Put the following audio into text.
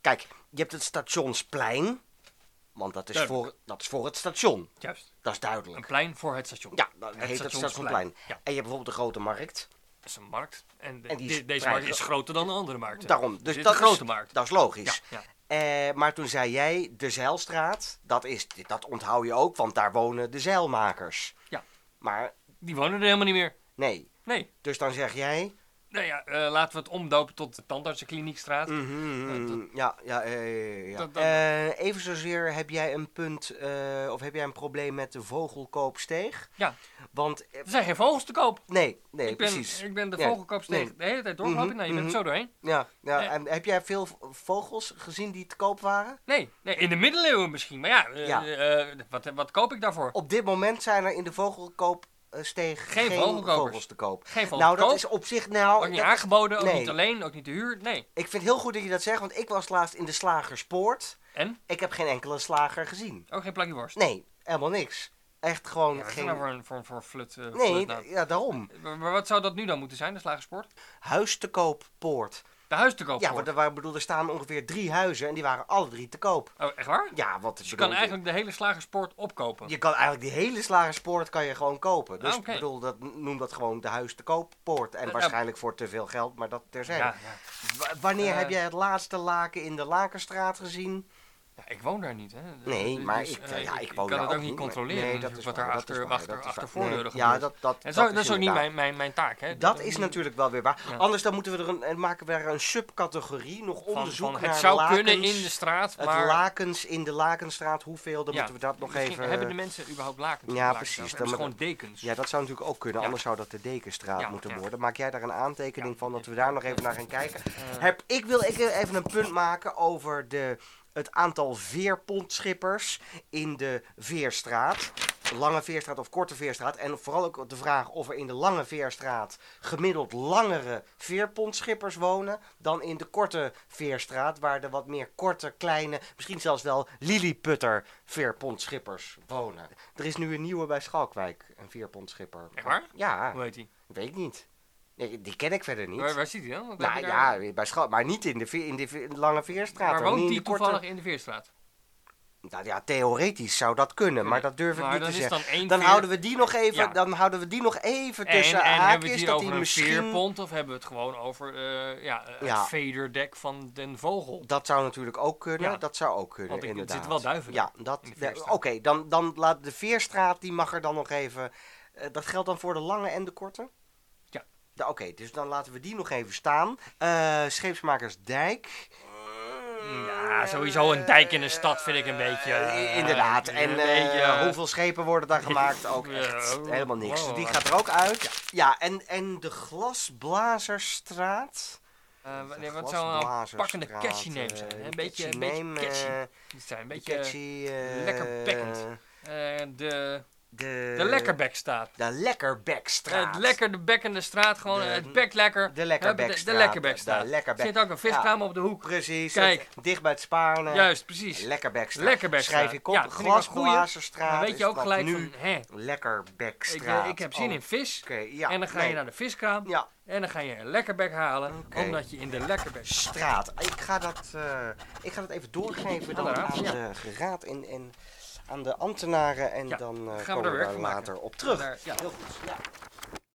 Kijk, je hebt het stationsplein. Want dat is, Duidelijk. voor, dat is voor het station. Juist. Dat is duidelijk. Een plein voor het station. Ja, dat heet het stationsplein. stationsplein. Ja, En je hebt bijvoorbeeld de grote markt. dat is een markt. En, de- En die de- deze spreiden- markt is groter dan de andere markten. Daarom. Dus Dit is dat, de is- grote markt. dat is logisch. Ja, Eh, maar toen zei jij de Zeilstraat. Dat, is, dat onthoud je ook, want daar wonen de zeilmakers. Ja. Maar Die wonen er helemaal niet meer. nee. Nee. Dus dan zeg jij. Nou ja, eh, laten we het omdopen tot de tandartsenkliniekstraat. Mhm, dat- ja, ja, ja, ja, ja, ja. dat- dat- Eh, even zozeer heb jij een punt eh, of heb jij een probleem met de vogelkoopsteeg? Ja. Want eh, Er zijn geen vogels te koop. nee, nee, ik, ben, precies. ik ben de Ja, vogelkoopsteeg nee. de hele tijd doorgelopen. Mhm, Nee, Nou, je bent mhm. zo doorheen. Ja, ja. Eh. En heb jij veel v- vogels gezien die te koop waren? Nee, nee, in de middeleeuwen misschien. Maar ja, eh, Ja. Oh, eh, wat, wat koop ik daarvoor? Op dit moment zijn er in de vogelkoopsteeg Geen geen, vogelkopers. vogels te koop. Geen vogels nou, te dat koop. is op zich nou. Ook niet dat- aangeboden, ook nee. niet alleen, ook niet te huur. Nee. ik vind heel goed dat je dat zegt, want ik was laatst in de Slagerspoort. En? Ik heb geen enkele slager gezien. Ook geen plakje worst. Nee, helemaal niks. Echt gewoon Ja, wat is dat geen. nou voor een, voor, een- voor een flut? eh, Nee, flutnaam? ja, daarom. Maar maar wat zou dat nu dan moeten zijn, de slagersport? Huis te koop poort. De huis te koop. Ja, want er, waren, bedoel, er staan ongeveer drie huizen en die waren alle drie te koop. Oh, echt waar? Ja, wat Dus je kan eigenlijk de hele slagersport opkopen. Je kan eigenlijk die hele slagerspoort kan je gewoon kopen. Dus Ah, ik oké. bedoel, dat, noem dat gewoon de huis te koop poort. En Eh, waarschijnlijk voor te veel geld, maar dat ja, terzijde. ja. Wa- wanneer Eh. heb jij het laatste laken in de Lakenstraat gezien? Ja, ik woon daar niet, hè. Nee, Dus, maar dus, ik, eh, ja, ik kan woon daar het ook niet niet maar- controleren Nee, dat natuurlijk, is wat waar, daar dat achter, is waar, achter, dat is achter waar. voordeuren Nee, gebeurt. Ja, dat, dat, En zo- dat, is ook niet inderdaad- mijn, mijn, mijn taak, hè. Dat is natuurlijk wel weer waar. Ehm, Ja. Anders dan moeten we er een, en maken we er een subcategorie, nog van- onderzoek van, naar Het zou lakens. kunnen in de straat, Het maar... lakens in de Lakenstraat, hoeveel, dan Ja, moeten we dat nog misschien even... Hebben de mensen überhaupt lakens? op Ja, de lakens precies, zelf? dan Hebben ze moet- gewoon dekens? Ja, dat zou natuurlijk ook kunnen, Ja. anders zou dat de Dekenstraat Ja, moeten ja. worden. Maak jij daar een aantekening Ja. van, dat we daar nog even naar gaan kijken? Eh, Heb, ik wil ik wil even een punt maken over de, het aantal veerpontschippers in de Veerstraat. Lange Veerstraat of Korte Veerstraat. En vooral ook de vraag of er in de Lange Veerstraat gemiddeld langere veerpontschippers wonen dan in de Korte Veerstraat, waar de wat meer korte, kleine, misschien zelfs wel lilliputter veerpontschippers wonen. Er is nu een nieuwe bij Schalkwijk, een veerpontschipper. Echt waar? Ja, Hoe heet die? weet ik niet. Nee, die ken ik verder niet. Waar, waar zit die dan? Wat heb Nou je daar- ja, bij Schal, maar niet in de, ve- in de ve- Lange Veerstraat. Maar hoor, niet woont in die de korte- toevallig in de Veerstraat? Nou ja, theoretisch zou dat kunnen, maar dat durf ik Maar niet dan te is zeggen. dan één Dan veer- houden we die nog even, Ja. dan houden we die nog even En, tussen en hebben we het haakjes. hier Dat die over een misschien. veerpont of hebben we het gewoon over eh, ja, eh, Ja. het vederdek van den vogel? Dat zou natuurlijk ook kunnen. Ja. Dat zou ook kunnen. Want ik- er inderdaad. zitten wel duiven Ja, dat. in de ja, Oké, Veerstraat. dan, dan laat de Veerstraat, die mag er dan nog even. eh, dat geldt dan voor de lange en de korte? Ja. Da- Oké, dus dan laten we die nog even staan. Eh Scheepsmakers Dijk. Ja, sowieso een dijk in een stad vind ik een beetje... Eh, eh, inderdaad. En een eh, beetje, eh, hoeveel schepen worden daar gemaakt? Ook Ja, echt oh, helemaal niks. wow. Die gaat er ook uit. Ja, en, en de Glasblazerstraat. eh, De nee, wat zou een Glasblazerstraat, pakkende catchy name zijn? eh, hè? Een beetje, catchy een beetje name, catchy. eh, Die zijn een de beetje... catchy, eh, lekker pakkend. eh, de, De, de lekkerbek staat. De Lekkerbekstraat. Het lekker de bek in de straat, gewoon eh, De- het bek lekker. de Hup, Lekkerbekstraat. De, de lekkerbek staat. De Lekkerbek- Zit ook een viskraam op de hoek. Precies. Kijk. het- Dicht bij het Spaarne. Juist, precies. Lekkerbekstraat. Lekkerbekstraat. Schrijf je kop. Ja, vind ik wel een goeie. Glasblazerstraat. Dan weet je is ook wat gelijk nu. van, hè, ik, eh, Lekkerbekstraat. ik heb zin in vis. Oké, ja. en dan ga nee. je naar de viskraam. Ja, En dan ga je een lekkerbek halen. Oké. Omdat je in de lekkerbek... straat. Ik ga dat, eh, ik ga dat even doorgeven dan Inderdaad, aan ja. de geraad en, en aan de ambtenaren. En Ja, dan eh, gaan we er komen we werk daar van maken. later op terug. Daar- ja. Heel goed. Ja.